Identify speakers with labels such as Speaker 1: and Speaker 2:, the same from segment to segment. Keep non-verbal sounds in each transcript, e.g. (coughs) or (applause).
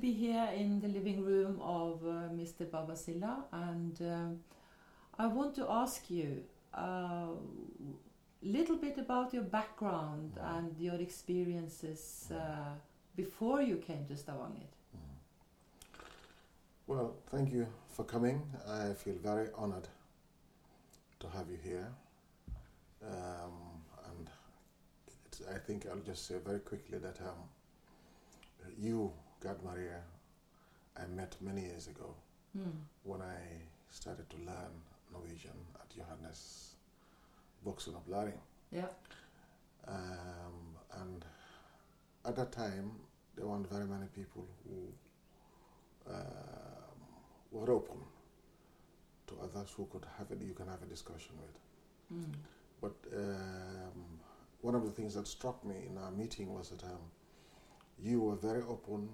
Speaker 1: be here in the living room of uh, Mr. Babasila, and um, I want to ask you a little bit about your background
Speaker 2: Mm-hmm.
Speaker 1: and your experiences uh, before you came to Stavanger.
Speaker 2: Well, thank you for coming. I feel very honored to have you here. Um, and it's, I think I'll just say very quickly that um, you, God Maria, I met many years ago
Speaker 1: Hmm.
Speaker 2: when I started to learn Norwegian at Johannes Boksen of Laring.
Speaker 1: Yeah.
Speaker 2: Um, and at that time, there weren't very many people who um, were open to others who could have it, you can have a discussion with.
Speaker 1: Mm.
Speaker 2: But um, one of the things that struck me in our meeting was that um, you were very open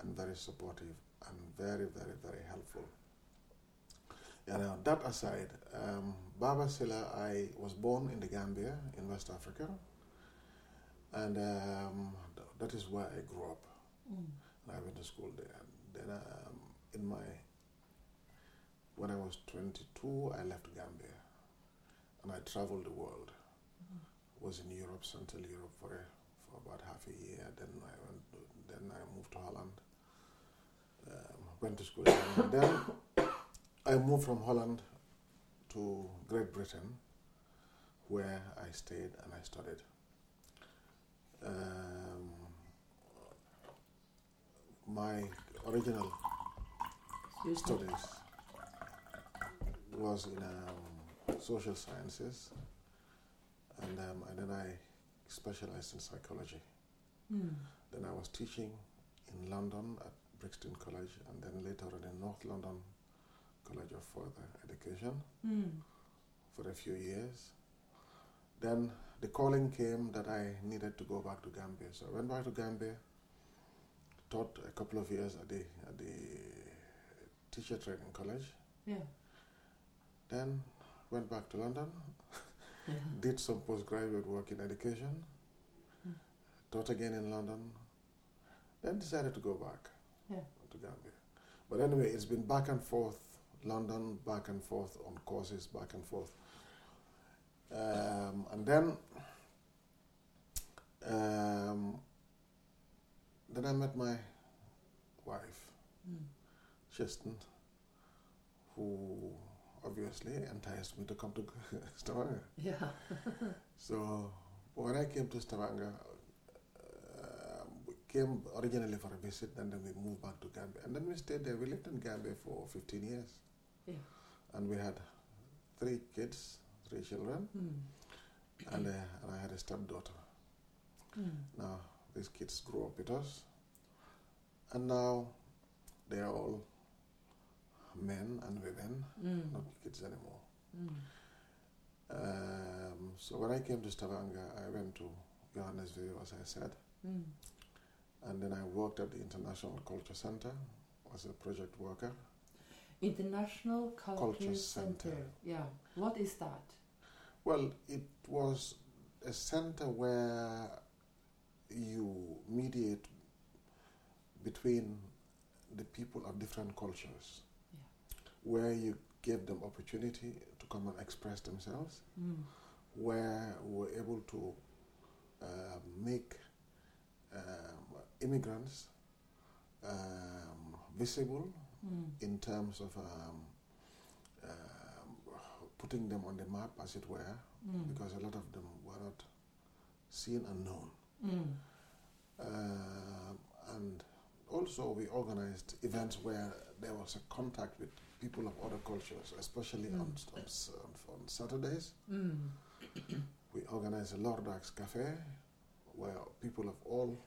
Speaker 2: and very supportive and very, very, very helpful. And now, that aside, um, Baba Silla, I was born in the Gambia in West Africa, and um, th- that is where I grew up.
Speaker 1: Mm.
Speaker 2: And I went to school there. And then, um, in my when I was 22, I left Gambia, and I traveled the world. Was in Europe, Central Europe for a, for about half a year. Then I went. to- Then I moved to Holland. Um, went to school. in Holland. then I moved from Holland to Great Britain, where I stayed and I studied. Um, my original
Speaker 1: Excuse me.
Speaker 2: studies was in um, social sciences, and, um, and then I specialized in psychology.
Speaker 1: Mm.
Speaker 2: Then I was teaching in London at Brixton College, and then later on in North London College of Further Education
Speaker 1: Mm.
Speaker 2: for a few years. Then the calling came that I needed to go back to Gambia, so I went back to Gambia. Taught a couple of years at the at the teacher training college.
Speaker 1: Yeah.
Speaker 2: Then went back to London,
Speaker 1: Yeah.
Speaker 2: did some postgraduate work in education,
Speaker 1: Mm.
Speaker 2: taught again in London, then decided to go back
Speaker 1: Yeah.
Speaker 2: to Gambia. But anyway, it's been back and forth, London, back and forth on courses, back and forth. Um, and then, um, then I met my wife.
Speaker 1: Mm.
Speaker 2: Kirsten, who obviously enticed me to come to (laughs) Stavanger. er
Speaker 1: Yeah.
Speaker 2: So when I came to Stavanger, uh, we came originally for a visit, and then we moved back to Gambia, and then we stayed there. We lived in Gambia for 15 years,
Speaker 1: Yeah.
Speaker 2: and we had three kids, three children,
Speaker 1: Mm.
Speaker 2: and, uh, and I had a stepdaughter.
Speaker 1: Mm.
Speaker 2: Now these kids grew up with us, and now they are all men and women,
Speaker 1: Mm.
Speaker 2: not kids anymore.
Speaker 1: Mm.
Speaker 2: Um, so when I came to Stavanger, I went to Johannesville, as I said,
Speaker 1: Mm.
Speaker 2: and then I worked at the International Culture Center as a project worker.
Speaker 1: International Culture,
Speaker 2: Culture
Speaker 1: Center.
Speaker 2: Center.
Speaker 1: Yeah. What is that?
Speaker 2: Well, it was a center where you mediate between the people of different cultures,
Speaker 1: Yeah.
Speaker 2: where you give them opportunity to come and express themselves,
Speaker 1: Mm.
Speaker 2: where we were able to uh, make um, immigrants um, visible
Speaker 1: Mm.
Speaker 2: in terms of um, um, putting them on the map, as it were,
Speaker 1: Mm.
Speaker 2: because a lot of them were not seen and known.
Speaker 1: Mm.
Speaker 2: Um, and also, we organized events where there was a contact with people of other cultures, especially on,
Speaker 1: Mm.
Speaker 2: on, s- on Saturdays.
Speaker 1: Mm.
Speaker 2: We organized a Lordax Cafe where people of all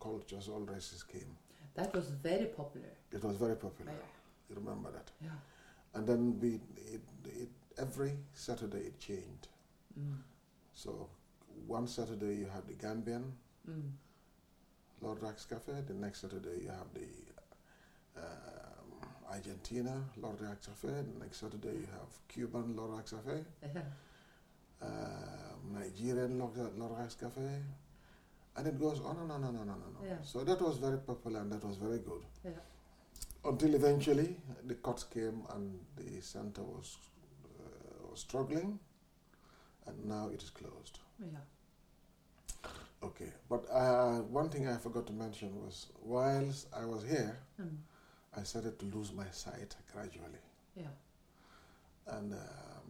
Speaker 2: cultures, all races came.
Speaker 1: That was very popular.
Speaker 2: It was very popular.
Speaker 1: Yeah.
Speaker 2: You remember that.
Speaker 1: Yeah.
Speaker 2: And then we, it, it, every Saturday it changed.
Speaker 1: Mm.
Speaker 2: So one Saturday you have the Gambian
Speaker 1: Mm.
Speaker 2: Lordax Cafe, the next Saturday you have the um, Argentina Lordax Cafe, the next Saturday you have Cuban Lordax Cafe,
Speaker 1: Yeah.
Speaker 2: Uh, um, Nigerian Lordax Cafe, And it goes on and on and on and on. and on.
Speaker 1: Yeah.
Speaker 2: So that was very popular and that was very good.
Speaker 1: Yeah.
Speaker 2: Until eventually the cuts came and the center was, uh, was struggling and now it is closed.
Speaker 1: Yeah.
Speaker 2: Okay, but uh, one thing I forgot to mention was whilst I was here,
Speaker 1: Mm.
Speaker 2: I started to lose my sight gradually,
Speaker 1: Yeah.
Speaker 2: and um,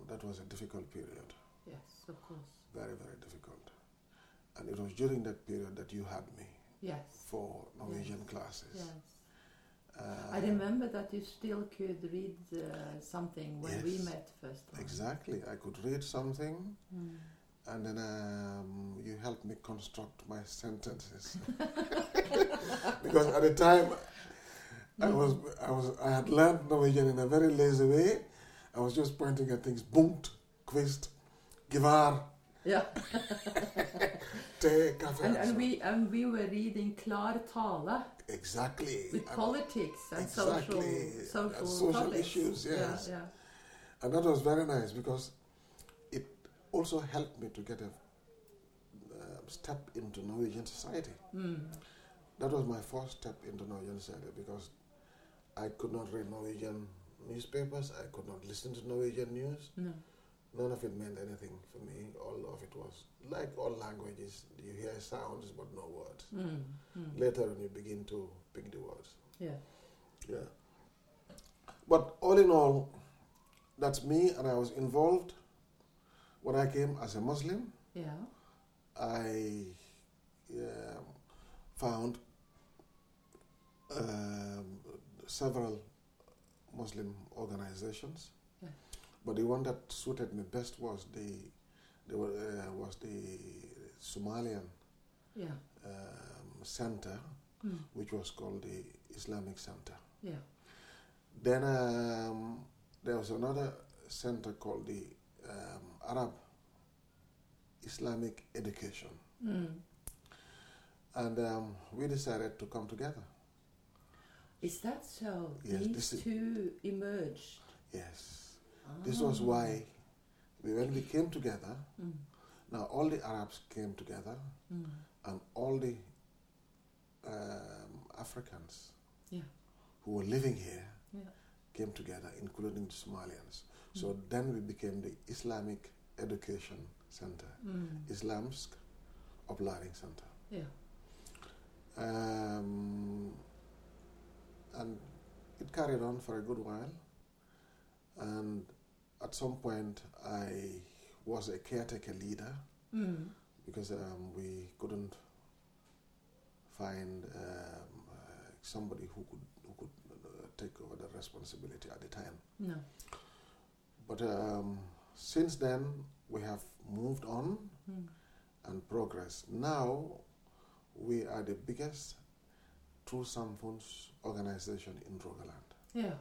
Speaker 2: that was a difficult period,
Speaker 1: Yes, of course.
Speaker 2: very very difficult. And it was during that period that you had me
Speaker 1: Yes.
Speaker 2: for Norwegian classes.
Speaker 1: Yes.
Speaker 2: Uh,
Speaker 1: I remember that you still could read uh, something when we
Speaker 2: Yes.
Speaker 1: met first. time.
Speaker 2: Exactly, I could read something,
Speaker 1: Mm.
Speaker 2: and then um, you helped me construct my sentences (laughs) because at the time I was I was I had learned Norwegian in a very lazy way. I was just pointing at things bunkt, kvist, givar,
Speaker 1: Yeah.
Speaker 2: (laughs) te, kaffe.
Speaker 1: And,
Speaker 2: so-
Speaker 1: and we and we were reading Klar Tale
Speaker 2: exactly
Speaker 1: with
Speaker 2: And-
Speaker 1: politics and
Speaker 2: Exactly.
Speaker 1: social social,
Speaker 2: And social
Speaker 1: topics.
Speaker 2: issues, yes.
Speaker 1: Yeah,
Speaker 2: and that was very nice because it also helped me to get a uh, step into Norwegian society.
Speaker 1: yeah. Mm.
Speaker 2: That was my first step into Norwegian society because I could not read Norwegian newspapers. I could not listen to Norwegian news.
Speaker 1: No.
Speaker 2: None of it meant anything for me. All of it was like all languages, you hear sounds but no words.
Speaker 1: Mm. Mm.
Speaker 2: Later on, you begin to pick the words.
Speaker 1: Yeah.
Speaker 2: Yeah. But all in all, that's me, and I was involved when I came as a Muslim.
Speaker 1: Yeah.
Speaker 2: I um found um, several Muslim organizations,
Speaker 1: Yeah.
Speaker 2: but the one that suited me best was the, the wa- uh, was the Somalian
Speaker 1: Yeah.
Speaker 2: um, center,
Speaker 1: Mm.
Speaker 2: which was called the Islamic Center.
Speaker 1: Yeah.
Speaker 2: Then um, there was another center called the um, Arab Islamic Education.
Speaker 1: Mm.
Speaker 2: And um, we decided to come together.
Speaker 1: Is that so?
Speaker 2: Yes,
Speaker 1: These
Speaker 2: this is-
Speaker 1: two emerged.
Speaker 2: Yes. This was
Speaker 1: Ah.
Speaker 2: why we, when we came together,
Speaker 1: Mm.
Speaker 2: now all the Arabs came together
Speaker 1: Mm.
Speaker 2: and all the um, Africans
Speaker 1: Yeah.
Speaker 2: who were living here
Speaker 1: Yeah. Mm.
Speaker 2: came together, including the Somalians. So then we became the Islamic Education Center,
Speaker 1: Mm.
Speaker 2: Islamsk Uplearning Center.
Speaker 1: Yeah.
Speaker 2: Um, and it carried on for a good while. And at some point, I was a caretaker leader
Speaker 1: Mm.
Speaker 2: because um, we couldn't find um, uh, somebody who could who could uh, take over the responsibility at the time.
Speaker 1: No.
Speaker 2: But um, since then, we have moved on
Speaker 1: Mm.
Speaker 2: and progress. Now, we are the biggest true Samfun's organization in Rogaland.
Speaker 1: Yeah.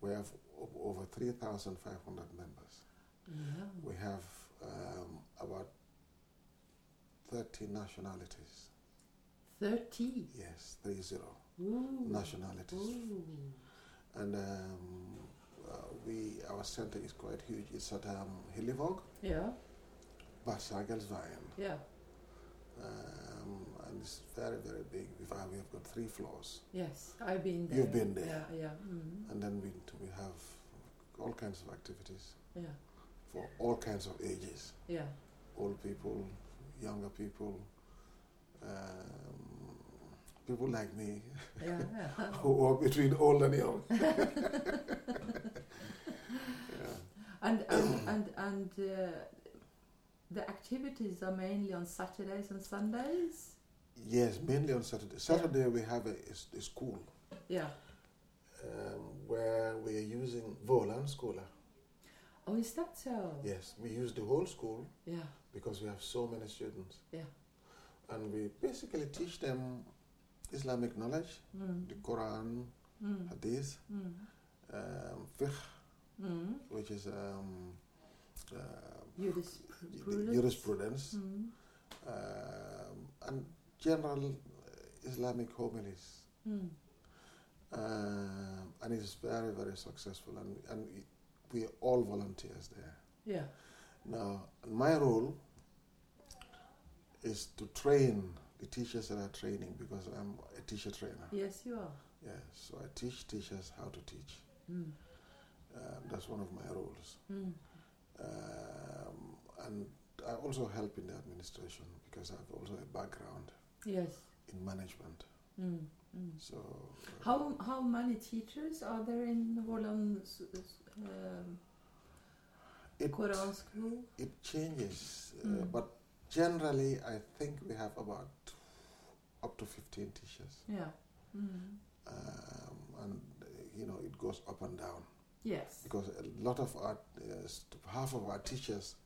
Speaker 2: We have o- over 3,500 members.
Speaker 1: Yeah.
Speaker 2: We have um, about 30 nationalities.
Speaker 1: Thirty.
Speaker 2: Yes, 30
Speaker 1: Ooh.
Speaker 2: nationalities.
Speaker 1: Ooh.
Speaker 2: And um, uh, we, our center is quite huge. It's at um, Hillevåg,
Speaker 1: Yeah.
Speaker 2: Bassagelsveien.
Speaker 1: Yeah.
Speaker 2: Um, and it's very, very big. We've, uh, we've got three floors.
Speaker 1: Yes. I've been there.
Speaker 2: You've been there.
Speaker 1: Yeah. Yeah. Mm.
Speaker 2: And then we, we have all kinds of activities
Speaker 1: Yeah.
Speaker 2: for all kinds of ages
Speaker 1: Yeah.
Speaker 2: old people, younger people, um, people like me
Speaker 1: Yeah. yeah. (laughs)
Speaker 2: who are between old and young. yeah.
Speaker 1: And and and, and uh, the activities are mainly on Saturdays and Sundays.
Speaker 2: Yes, mainly on Saturday. Saturday we have a, a s- a school
Speaker 1: Yeah.
Speaker 2: um, where we are using Volan Schola.
Speaker 1: Oh, is that so?
Speaker 2: Yes, we use the whole school
Speaker 1: Yeah.
Speaker 2: because we have so many students.
Speaker 1: Yeah.
Speaker 2: And we basically teach them Islamic knowledge,
Speaker 1: Mm.
Speaker 2: the Quran,
Speaker 1: Mm.
Speaker 2: Hadith,
Speaker 1: Mm.
Speaker 2: um, fiqh,
Speaker 1: Mm.
Speaker 2: which is um, uh, the- the
Speaker 1: Jurisprudence.
Speaker 2: jurisprudence,
Speaker 1: Mm.
Speaker 2: um, and general uh, Islamic homilies.
Speaker 1: Mm.
Speaker 2: Um and it's very, very successful, and, and we, we are all volunteers there.
Speaker 1: Yeah.
Speaker 2: Now, my role is to train the teachers that are training because I'm a teacher trainer.
Speaker 1: Yes, you are.
Speaker 2: Yeah, so I teach teachers how to teach.
Speaker 1: Mm.
Speaker 2: Um, that's one of my roles.
Speaker 1: Mm.
Speaker 2: Um, and I also help in the administration because I have also a background
Speaker 1: Yes.
Speaker 2: in management.
Speaker 1: Mm. Mm.
Speaker 2: So uh,
Speaker 1: How how many teachers are there in Våland s- s- um,
Speaker 2: it,
Speaker 1: Quran school?
Speaker 2: it changes, uh,
Speaker 1: Mm.
Speaker 2: but generally I think we have about up to 15 teachers.
Speaker 1: Yeah. Mm.
Speaker 2: Um, and uh, you know it goes up and down
Speaker 1: Yes.
Speaker 2: because a lot of our uh, st- half of our teachers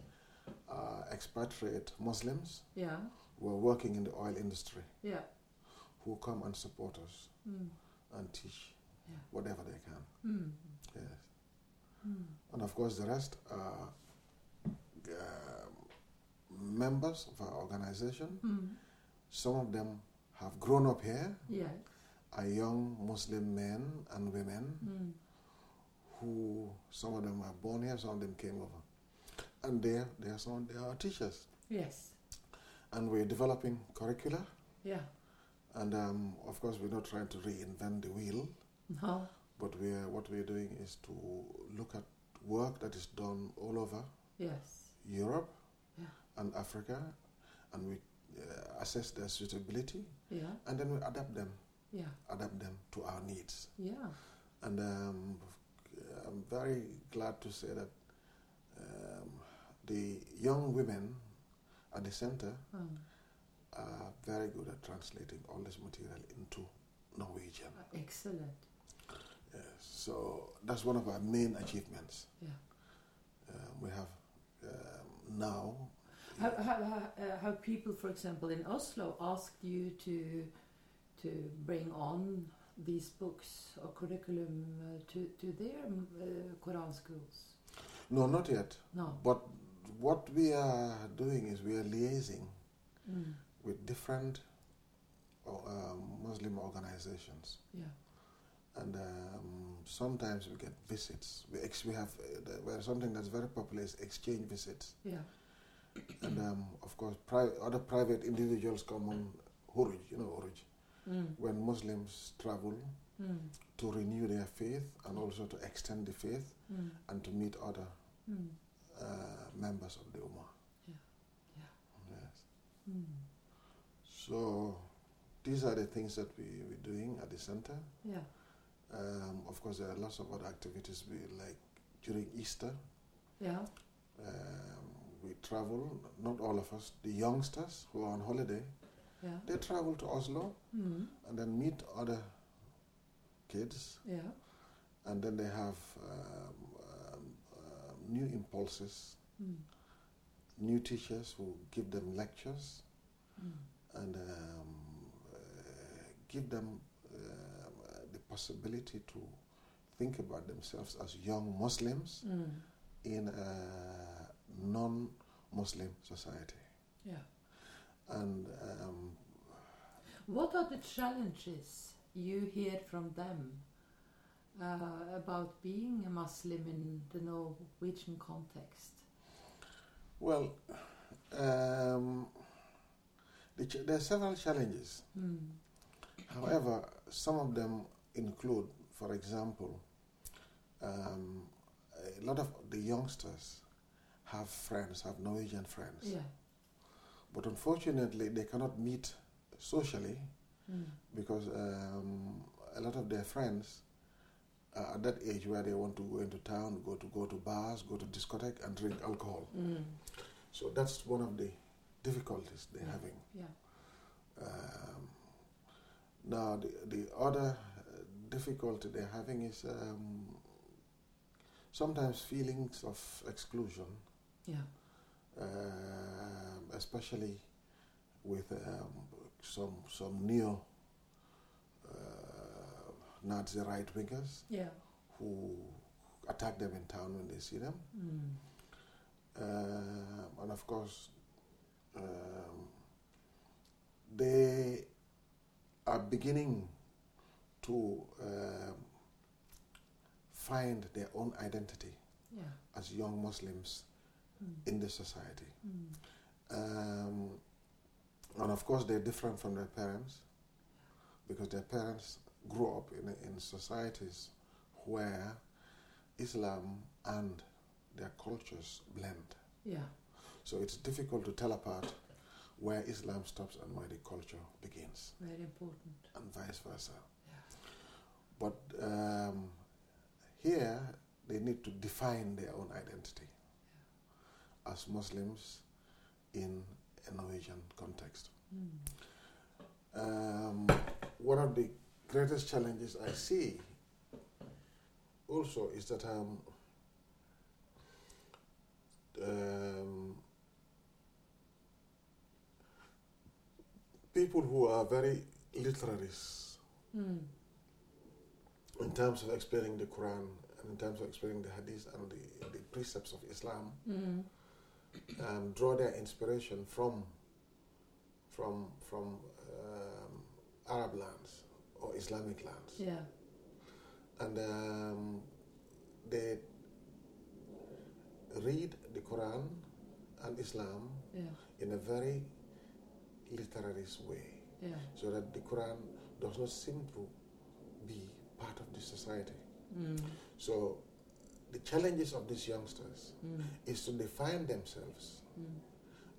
Speaker 2: are expatriate Muslims
Speaker 1: Yeah.
Speaker 2: who are working in the oil industry
Speaker 1: Yeah.
Speaker 2: who come and support us
Speaker 1: Mm.
Speaker 2: and teach
Speaker 1: Yeah.
Speaker 2: whatever they can.
Speaker 1: Mm.
Speaker 2: Yes.
Speaker 1: Mm.
Speaker 2: And of course, the rest are um, members of our organization.
Speaker 1: Mm.
Speaker 2: Some of them have grown up here,
Speaker 1: Yeah.
Speaker 2: are young Muslim men and women
Speaker 1: Mm.
Speaker 2: who, some of them are born here, some of them came over. And they, they, are some, they are teachers.
Speaker 1: Yes.
Speaker 2: And we're developing curricula.
Speaker 1: Yeah. (laughs)
Speaker 2: And um, of course, we're not trying to reinvent the wheel,
Speaker 1: No.
Speaker 2: but we're, what we're doing is to look at work that is done all over
Speaker 1: Yes.
Speaker 2: Europe
Speaker 1: Yeah.
Speaker 2: and Africa, and we uh, assess their suitability,
Speaker 1: Yeah.
Speaker 2: and then we adapt them,
Speaker 1: Yeah.
Speaker 2: adapt them to our needs.
Speaker 1: Yeah.
Speaker 2: And um, I'm very glad to say that um, the young women at the center
Speaker 1: Um,
Speaker 2: are very good at translating all this material into Norwegian.
Speaker 1: excellent.
Speaker 2: Yes. So that's one of our main achievements.
Speaker 1: Yeah.
Speaker 2: Um, we have um, now.
Speaker 1: How, how, how, uh, how people, for example, in Oslo asked you to to bring on these books or curriculum uh, to, to their mm, uh, Quran schools?
Speaker 2: No, not yet.
Speaker 1: No.
Speaker 2: But what we are doing is we are liaising
Speaker 1: Mm.
Speaker 2: with different o- um, Muslim organizations,
Speaker 1: Yeah.
Speaker 2: and um, sometimes we get visits. We, ex- we have uh, the- well, something that's very popular is exchange visits,
Speaker 1: Yeah.
Speaker 2: and
Speaker 1: Mm-hmm.
Speaker 2: um, of course, pri- other private individuals come on huruj, you know, huruj,
Speaker 1: Mm.
Speaker 2: when Muslims travel
Speaker 1: Mm.
Speaker 2: to renew their faith and also to extend the faith
Speaker 1: Mm.
Speaker 2: and to meet other
Speaker 1: Mm.
Speaker 2: uh, members of the Ummah.
Speaker 1: Yeah. Yeah.
Speaker 2: Yes.
Speaker 1: Mm.
Speaker 2: So these are the things that we, we're doing at the center.
Speaker 1: Yeah.
Speaker 2: Um, of course, there are lots of other activities we like during Easter.
Speaker 1: Yeah.
Speaker 2: Um, we travel, not all of us, the youngsters who are on holiday,
Speaker 1: Yeah.
Speaker 2: they travel to Oslo
Speaker 1: Mm.
Speaker 2: and then meet other kids,
Speaker 1: Yeah.
Speaker 2: and then they have um, um, um, new impulses,
Speaker 1: Mm.
Speaker 2: new teachers who give them lectures.
Speaker 1: Mm.
Speaker 2: and um, uh, give them um, uh, the possibility to think about themselves as young Muslims
Speaker 1: Mm.
Speaker 2: in a non Muslim society.
Speaker 1: Yeah.
Speaker 2: And um,
Speaker 1: What are the challenges you hear from them uh, about being a Muslim in the Norwegian context?
Speaker 2: well, um, the ch- there are several challenges.
Speaker 1: Mm.
Speaker 2: However, some of them include, for example, um, a lot of the youngsters have friends, have Norwegian friends.
Speaker 1: Yeah.
Speaker 2: But unfortunately, they cannot meet socially
Speaker 1: Mm.
Speaker 2: because um, a lot of their friends are at that age where they want to go into town, go to go to bars, go to discotheque, and drink alcohol.
Speaker 1: Mm.
Speaker 2: So that's one of the difficulties they're
Speaker 1: Yeah.
Speaker 2: having.
Speaker 1: Yeah.
Speaker 2: Um, now, the, the other uh, difficulty they're having is um, sometimes feelings of exclusion,
Speaker 1: Yeah.
Speaker 2: um, especially with um, some some neo uh, Nazi right wingers
Speaker 1: Yeah.
Speaker 2: who attack them in town when they see them,
Speaker 1: Mm.
Speaker 2: Um and of course um, they are beginning to um, find their own identity
Speaker 1: Yeah.
Speaker 2: as young Muslims
Speaker 1: Mm.
Speaker 2: in the society.
Speaker 1: Mm.
Speaker 2: um, And of course, they're different from their parents because their parents grew up in, in societies where Islam and their cultures blend.
Speaker 1: Yeah.
Speaker 2: So it's difficult to tell apart where Islam stops and where the culture begins,
Speaker 1: Very important.
Speaker 2: and vice versa.
Speaker 1: Yeah.
Speaker 2: But um, here, they need to define their own identity as Muslims in a Norwegian context.
Speaker 1: Mm.
Speaker 2: Um, one of the greatest challenges I see also is that um, um, people who are very literaries
Speaker 1: Mm.
Speaker 2: in terms of explaining the Quran and in terms of explaining the Hadith and the, the precepts of Islam
Speaker 1: Mm.
Speaker 2: um, draw their inspiration from from from um, Arab lands or Islamic lands,
Speaker 1: Yeah.
Speaker 2: and um, they read the Quran and Islam
Speaker 1: Yeah.
Speaker 2: in a very literarist way,
Speaker 1: Yeah.
Speaker 2: so that the Quran does not seem to be part of the society.
Speaker 1: Mm.
Speaker 2: So the challenges of these youngsters
Speaker 1: Mm.
Speaker 2: is to define themselves
Speaker 1: Mm.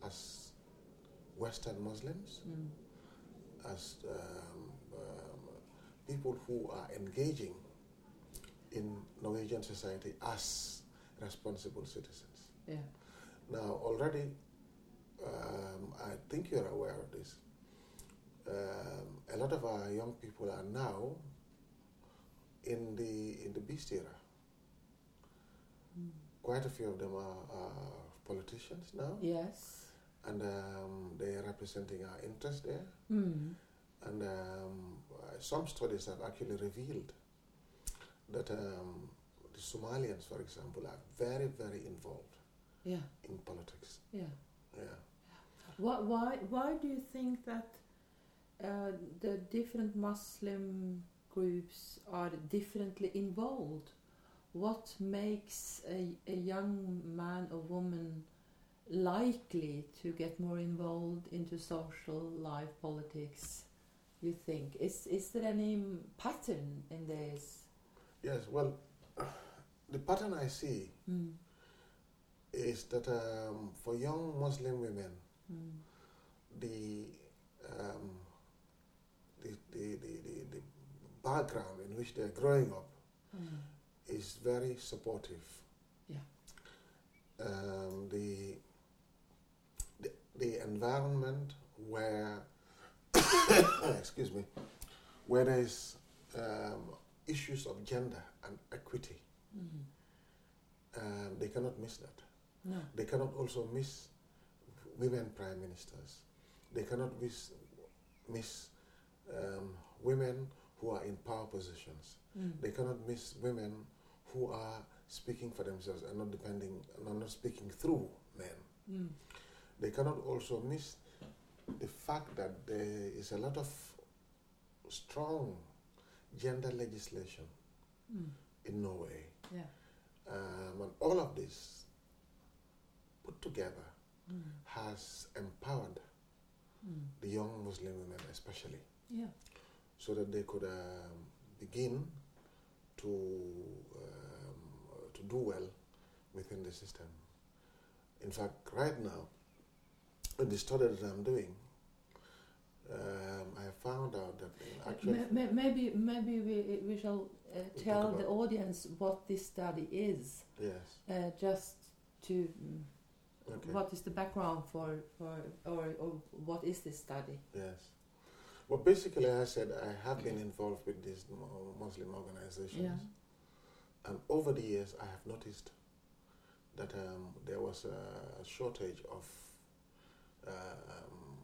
Speaker 2: as Western Muslims,
Speaker 1: Mm.
Speaker 2: as um, um, people who are engaging in Norwegian society as responsible citizens.
Speaker 1: Yeah.
Speaker 2: Now, already, um, I think you're aware of this. Um, a lot of our young people are now in the in the beast era.
Speaker 1: Mm.
Speaker 2: Quite a few of them are, are politicians now,
Speaker 1: Yes.
Speaker 2: and um, they are representing our interests there.
Speaker 1: Mm.
Speaker 2: And um, uh, some studies have actually revealed that um, the Somalians, for example, are very, very involved
Speaker 1: Yeah.
Speaker 2: in politics.
Speaker 1: Yeah.
Speaker 2: Yeah.
Speaker 1: Why, why, why do you think that uh, the different Muslim groups are differently involved? What makes a, a young man or woman likely to get more involved into social life, politics? You think is is there any pattern in this?
Speaker 2: Yes, well, (clears throat) the pattern I see
Speaker 1: Mm.
Speaker 2: is that um, for young Muslim women,
Speaker 1: Mm.
Speaker 2: the, um, the, the, the, the, the background in which they're growing up
Speaker 1: Mm.
Speaker 2: is very supportive.
Speaker 1: Yeah.
Speaker 2: Um, the, the the environment where (coughs) excuse me, where there is um, issues of gender and equity,
Speaker 1: Mm.
Speaker 2: um, they cannot miss that.
Speaker 1: No.
Speaker 2: They cannot also miss women prime ministers. They cannot miss miss um, women who are in power positions
Speaker 1: Mm.
Speaker 2: they cannot miss women who are speaking for themselves and not depending and are not speaking through men.
Speaker 1: Mm.
Speaker 2: They cannot also miss the fact that there is a lot of strong gender legislation
Speaker 1: Mm.
Speaker 2: in Norway.
Speaker 1: Yeah.
Speaker 2: Um, and all of this put together
Speaker 1: Mm.
Speaker 2: has empowered
Speaker 1: Mm.
Speaker 2: the young Muslim women, especially,
Speaker 1: Yeah.
Speaker 2: so that they could um, begin to um, to do well within the system. In fact, right now, in the study that I'm doing, um, I found out that in actual
Speaker 1: Ma- ma- Maybe, maybe we, we shall uh,
Speaker 2: We'll
Speaker 1: tell
Speaker 2: talk
Speaker 1: the
Speaker 2: about-
Speaker 1: audience what this study is,
Speaker 2: yes,
Speaker 1: uh, just to mm,
Speaker 2: okay,
Speaker 1: what is the background for, for or, or what is this study?
Speaker 2: yes. Well, basically, I said I have been involved with these mo- Muslim organizations, and over the years, I have noticed that um, there was a shortage of uh, um,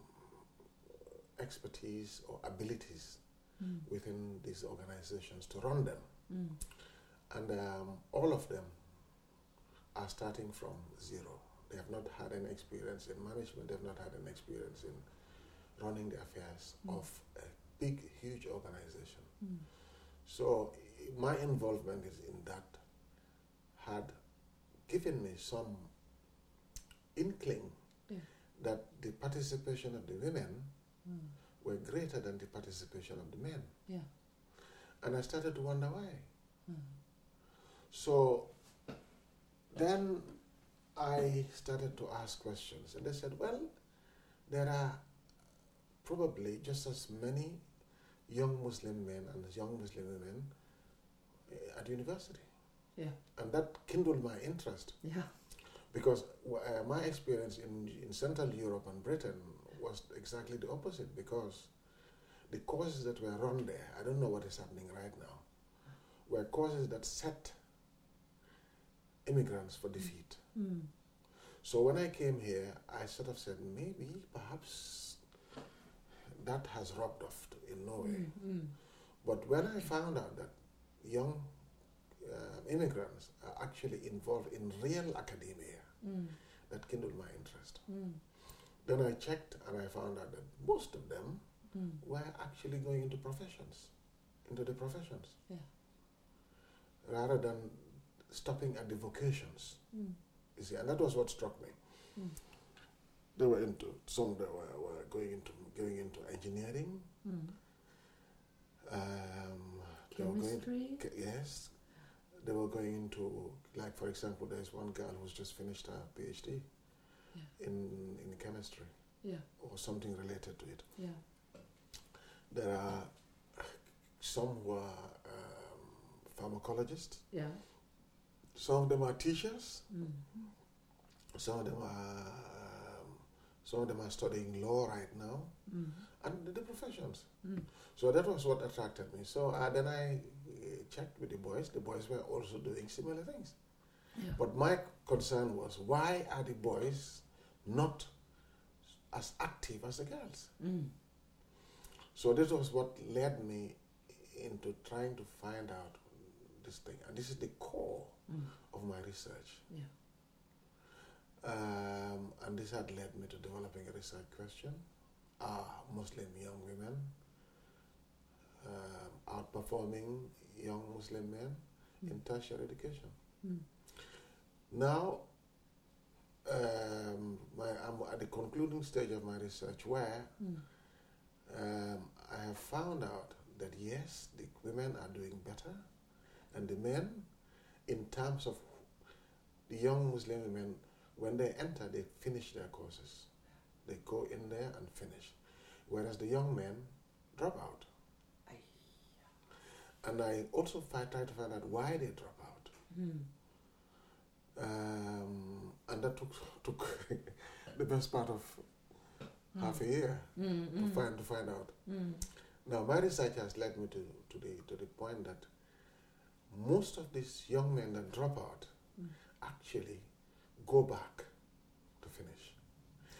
Speaker 2: expertise or abilities
Speaker 1: Mm.
Speaker 2: within these organizations to run them.
Speaker 1: Mm.
Speaker 2: And um, all of them are starting from zero. They have not had any experience in management, they have not had any experience in running the affairs
Speaker 1: Mm.
Speaker 2: of a big, huge organization.
Speaker 1: Mm.
Speaker 2: So i- my involvement is in that had given me some inkling
Speaker 1: Yeah.
Speaker 2: that the participation of the women were greater than the participation of the men.
Speaker 1: Yeah.
Speaker 2: And I started to wonder why.
Speaker 1: mm.
Speaker 2: So then I started to ask questions, and they said, well, there are probably just as many young Muslim men and young Muslim women eh, at university.
Speaker 1: Yeah.
Speaker 2: And that kindled my interest
Speaker 1: Yeah.
Speaker 2: because uh, my experience in, in Central Europe and Britain was exactly the opposite because the courses that were run there, I don't know what is happening right now, were courses that set immigrants for defeat.
Speaker 1: Mm.
Speaker 2: So when I came here, I sort of said, maybe, perhaps that has rubbed off t- in no way.
Speaker 1: Mm, mm.
Speaker 2: But when I found out that young uh, immigrants are actually involved in real academia,
Speaker 1: Mm.
Speaker 2: that kindled my interest.
Speaker 1: Mm.
Speaker 2: Then I checked and I found out that most of them
Speaker 1: Mm.
Speaker 2: were actually going into professions, into the professions,
Speaker 1: Yeah.
Speaker 2: rather than stopping at the vocations.
Speaker 1: Mm.
Speaker 2: You see, and that was what struck me.
Speaker 1: Mm.
Speaker 2: They were into some. They were, were going into going into engineering.
Speaker 1: Mm.
Speaker 2: Um, they were going
Speaker 1: Chemistry.
Speaker 2: K- Yes. They were going into, like, for example, there's one girl who's just finished her PhD
Speaker 1: Yeah.
Speaker 2: in, in chemistry
Speaker 1: Yeah.
Speaker 2: or something related to it.
Speaker 1: Yeah.
Speaker 2: There are some who are um, pharmacologists,
Speaker 1: Yeah.
Speaker 2: some of them are teachers,
Speaker 1: Mm.
Speaker 2: some of them are. Um, some of them are studying law right now,
Speaker 1: Mm.
Speaker 2: and the- the professions.
Speaker 1: Mm.
Speaker 2: So that was what attracted me. So uh, then I uh, checked with the boys. The boys were also doing similar things.
Speaker 1: Yeah.
Speaker 2: But my concern was why are the boys not as active as the girls?
Speaker 1: Mm.
Speaker 2: So this was what led me into trying to find out this thing, and this is the core
Speaker 1: Mm.
Speaker 2: of my research.
Speaker 1: Yeah.
Speaker 2: Um, and this had led me to developing a research question: Are Muslim young women um, outperforming young Muslim men in
Speaker 1: Mm.
Speaker 2: tertiary education?
Speaker 1: Mm.
Speaker 2: Now, um, my, I'm at the concluding stage of my research where
Speaker 1: Mm.
Speaker 2: um, I have found out that yes, the women are doing better, and the men, in terms of the young Muslim women, when they enter, they finish their courses. They go in there and finish. Whereas the young men drop out.
Speaker 1: Aye.
Speaker 2: And I also fi- try to find out why they drop out.
Speaker 1: Mm.
Speaker 2: um, and that took (laughs) took the best part of half a year
Speaker 1: Mm.
Speaker 2: to
Speaker 1: Mm.
Speaker 2: find to find out.
Speaker 1: Mm.
Speaker 2: Now my research has led me to, to the to the point that most of these young men that drop out
Speaker 1: Mm.
Speaker 2: actually go back to finish.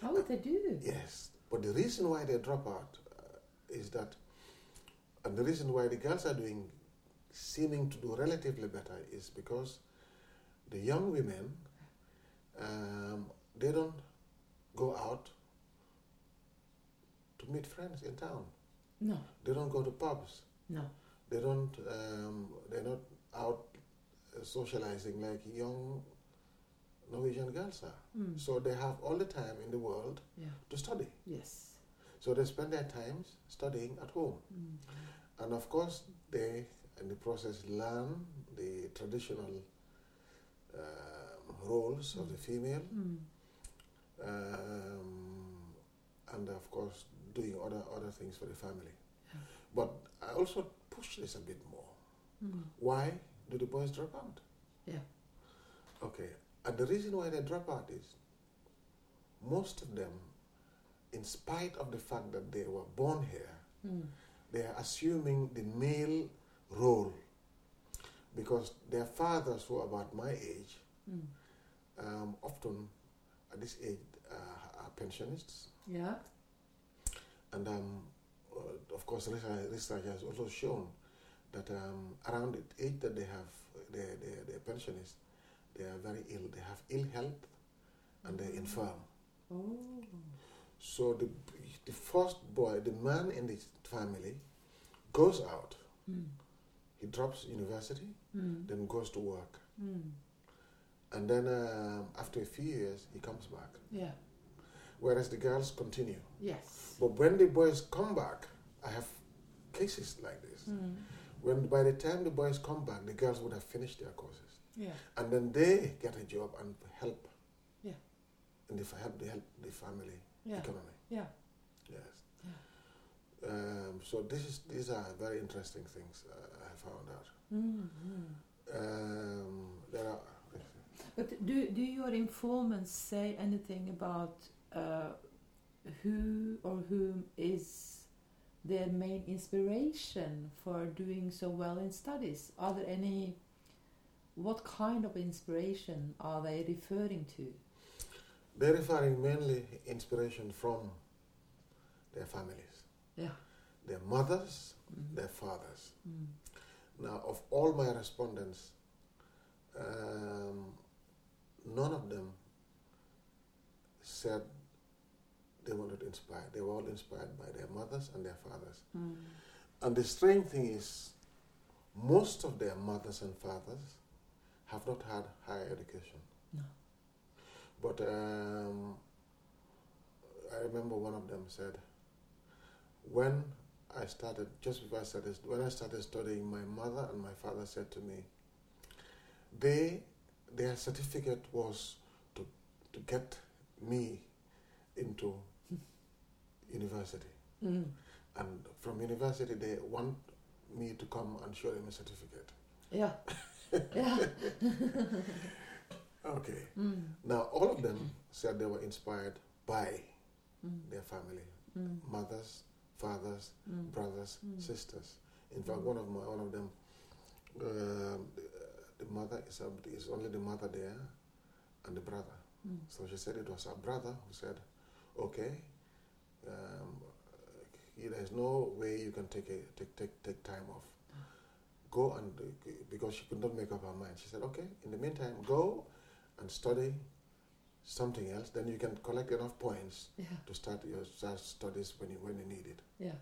Speaker 1: Oh, they do.
Speaker 2: Yes, but the reason why they drop out uh, is that, and the reason why the girls are doing seeming to do relatively better is because the young women um, they don't go out to meet friends in town.
Speaker 1: No.
Speaker 2: They don't go to pubs.
Speaker 1: No.
Speaker 2: They don't. Um, they're not out uh, socializing like young Norwegian girls are.
Speaker 1: Mm.
Speaker 2: So they have all the time in the world
Speaker 1: Yeah.
Speaker 2: to study.
Speaker 1: Yes.
Speaker 2: So they spend their times studying at home.
Speaker 1: Mm.
Speaker 2: And of course, they, in the process, learn the traditional um, roles of the female
Speaker 1: Mm.
Speaker 2: um, and, of course, doing other, other things for the family.
Speaker 1: Yeah.
Speaker 2: But I also push this a bit more.
Speaker 1: Mm.
Speaker 2: Why do the boys drop out?
Speaker 1: Yeah.
Speaker 2: Okay. And the reason why they drop out is most of them, in spite of the fact that they were born here,
Speaker 1: Mm.
Speaker 2: they are assuming the male role because their fathers who are about my age
Speaker 1: Mm.
Speaker 2: um, often at this age uh, are pensionists
Speaker 1: Yeah.
Speaker 2: and um, uh, of course research, research has also shown that um, around the age that they have their, their, their pensionists they are very ill they have ill health and they're infirm
Speaker 1: Oh.
Speaker 2: so the, the first boy the man in the family goes out
Speaker 1: Mm.
Speaker 2: he drops university
Speaker 1: Mm.
Speaker 2: then goes to work.
Speaker 1: Mm.
Speaker 2: And then um, after a few years, he comes back.
Speaker 1: Yeah.
Speaker 2: whereas the girls continue.
Speaker 1: Yes.
Speaker 2: But when the boys come back, I have cases like this.
Speaker 1: Mm.
Speaker 2: When by the time the boys come back, the girls would have finished their courses,
Speaker 1: Yeah.
Speaker 2: and then they get a job and help.
Speaker 1: Yeah.
Speaker 2: And if I help, they help the family
Speaker 1: Yeah.
Speaker 2: economy.
Speaker 1: Yeah.
Speaker 2: Yes. Um, so this is these are very interesting things uh, I found out.
Speaker 1: Mm, mm.
Speaker 2: Um, there are
Speaker 1: But do, do your informants say anything about uh, who or whom is their main inspiration for doing so well in studies? Are there any, what kind of inspiration are they referring to?
Speaker 2: they're referring mainly inspiration from their families,
Speaker 1: Yeah.
Speaker 2: their mothers,
Speaker 1: Mm.
Speaker 2: their fathers.
Speaker 1: Mm.
Speaker 2: Now, of all my respondents, um, none of them said they wanted inspired. They were all inspired by their mothers and their fathers.
Speaker 1: Mm.
Speaker 2: And the strange thing is, most of their mothers and fathers have not had higher education.
Speaker 1: No.
Speaker 2: But um, I remember one of them said, when I started, just before I started, when I started studying, my mother and my father said to me, they, their certificate was to, to get me into university.
Speaker 1: Mm.
Speaker 2: And from university, they want me to come and show them a certificate.
Speaker 1: Yeah. yeah.
Speaker 2: Okay.
Speaker 1: Mm.
Speaker 2: Now, all of them said they were inspired by
Speaker 1: Mm.
Speaker 2: their family
Speaker 1: Mm.
Speaker 2: mothers, fathers,
Speaker 1: Mm.
Speaker 2: brothers,
Speaker 1: Mm.
Speaker 2: sisters. In fact,
Speaker 1: Mm.
Speaker 2: one of my, one of them, um, the, the mother is, a- is only the mother there, and the brother.
Speaker 1: Mm.
Speaker 2: So she said it was her brother who said, "Okay, um, uh, there's no way you can take a, take take take time off. Go and uh, because she could not make up her mind. She said, "Okay, in the meantime, go and study something else. Then you can collect enough points
Speaker 1: Yeah.
Speaker 2: to start your start studies when you when you need it."
Speaker 1: Yeah.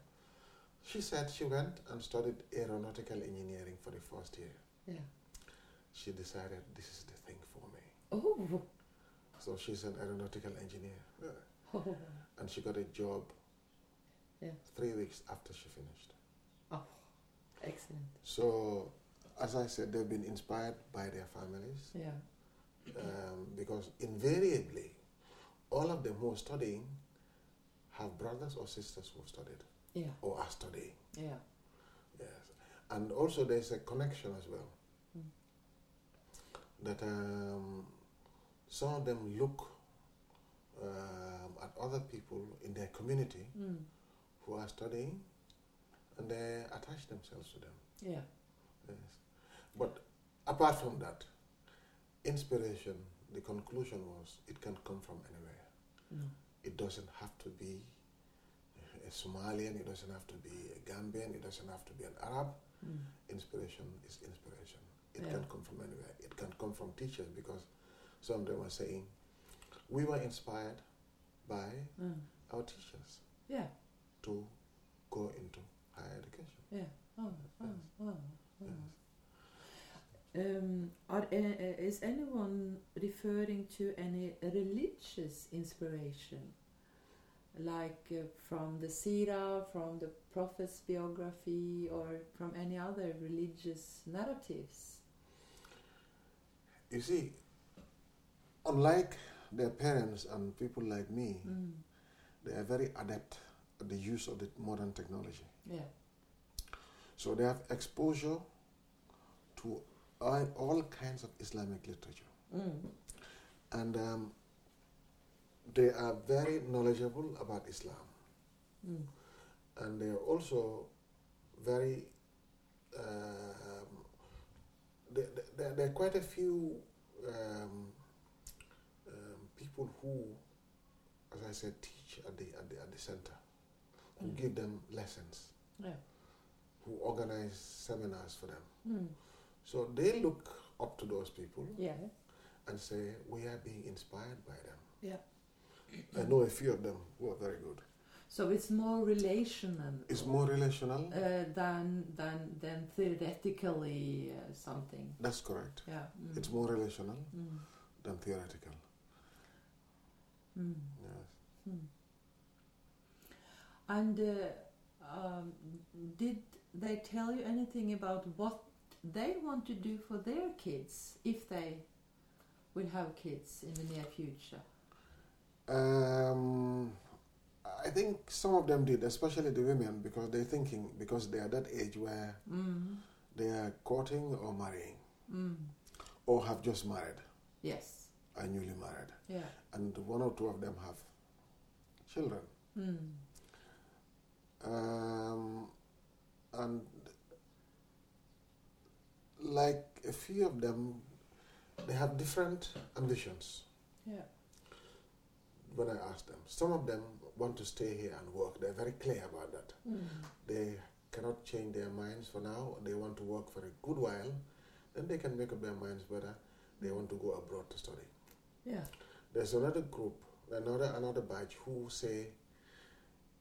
Speaker 2: She said she went and studied aeronautical engineering for the first year.
Speaker 1: Yeah.
Speaker 2: She decided this is the thing for me.
Speaker 1: Oh.
Speaker 2: So she's an aeronautical engineer.
Speaker 1: Oh.
Speaker 2: And she got a job
Speaker 1: Yeah.
Speaker 2: three weeks after she finished.
Speaker 1: Excellent.
Speaker 2: So, as I said, they've been inspired by their families
Speaker 1: Yeah.
Speaker 2: um, because invariably, all of them who are studying have brothers or sisters who have studied
Speaker 1: Yeah.
Speaker 2: or are studying.
Speaker 1: Yeah.
Speaker 2: Yes. And also, there's a connection as well
Speaker 1: Mm.
Speaker 2: that um, some of them look um, at other people in their community
Speaker 1: Mm.
Speaker 2: who are studying and they attach themselves to them.
Speaker 1: Yeah.
Speaker 2: Yes. But apart from that, inspiration, the conclusion was it can come from anywhere.
Speaker 1: No.
Speaker 2: It doesn't have to be a Somalian, it doesn't have to be a Gambian, it doesn't have to be an Arab.
Speaker 1: Mm.
Speaker 2: Inspiration is inspiration. It
Speaker 1: Yeah.
Speaker 2: can come from anywhere. It can come from teachers because some of them are saying, we were inspired by
Speaker 1: Mm.
Speaker 2: our teachers
Speaker 1: Yeah.
Speaker 2: to go into higher education.
Speaker 1: Oh, oh,
Speaker 2: Yes.
Speaker 1: oh, oh.
Speaker 2: Yes.
Speaker 1: Um, are, uh, is anyone referring to any religious inspiration, like uh, from the Sira, from the Prophet's biography, or from any other religious narratives?
Speaker 2: You see, unlike their parents and people like me,
Speaker 1: Mm.
Speaker 2: they are very adept at the use of the modern technology.
Speaker 1: Yeah,
Speaker 2: So they have exposure to all all kinds of Islamic literature.
Speaker 1: mm.
Speaker 2: And um, they are very knowledgeable about Islam.
Speaker 1: Mm.
Speaker 2: And they are also very, um, there, there, there are quite a few um, um, people who, as I said, teach at the, at the, at the center, who
Speaker 1: Mm.
Speaker 2: give them lessons,
Speaker 1: Yeah.
Speaker 2: who organize seminars for them.
Speaker 1: Mm.
Speaker 2: So they look up to those people
Speaker 1: yeah,
Speaker 2: and say, we are being inspired by them.
Speaker 1: yeah.
Speaker 2: I know a few of them who are very good.
Speaker 1: So it's more relational.
Speaker 2: It's more relational.
Speaker 1: uh, than than than theoretically uh, something.
Speaker 2: That's correct.
Speaker 1: Yeah. Mm.
Speaker 2: It's more relational
Speaker 1: Mm.
Speaker 2: than theoretical.
Speaker 1: Mm.
Speaker 2: Yes.
Speaker 1: And uh, um, did they tell you anything about what they want to do for their kids if they will have kids in the near future?
Speaker 2: Um, I think some of them did, especially the women, because they're thinking because they are that age where
Speaker 1: Mm.
Speaker 2: they are courting or marrying
Speaker 1: Mm.
Speaker 2: or have just married,
Speaker 1: Yes.
Speaker 2: are newly married,
Speaker 1: Yeah.
Speaker 2: and one or two of them have children.
Speaker 1: Mm.
Speaker 2: Um, and like a few of them, they have different ambitions.
Speaker 1: Yeah.
Speaker 2: When I ask them, some of them want to stay here and work. They're very clear about that.
Speaker 1: Mm.
Speaker 2: They cannot change their minds for now. They want to work for a good while. Then they can make up their minds whether they want to go abroad to study.
Speaker 1: Yeah.
Speaker 2: There's another group, another another batch who say,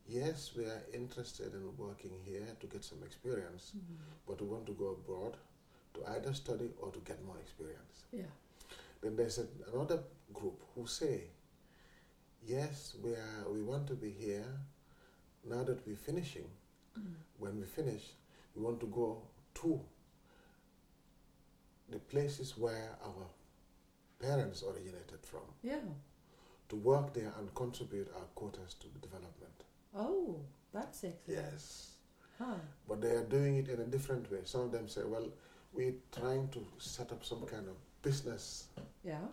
Speaker 2: yes, we are interested in working here to get some experience,
Speaker 1: Mm.
Speaker 2: but we want to go abroad to either study or to get more experience.
Speaker 1: Yeah.
Speaker 2: Then there's a, another group who say, yes, we are we want to be here now that we're finishing.
Speaker 1: Mm.
Speaker 2: When we finish, we want to go to the places where our parents originated from
Speaker 1: Yeah.
Speaker 2: to work there and contribute our quotas to the development.
Speaker 1: Oh, that's excellent.
Speaker 2: Yes.
Speaker 1: Huh.
Speaker 2: But they are doing it in a different way. Some of them say, well, we're trying to set up some kind of business
Speaker 1: Yeah.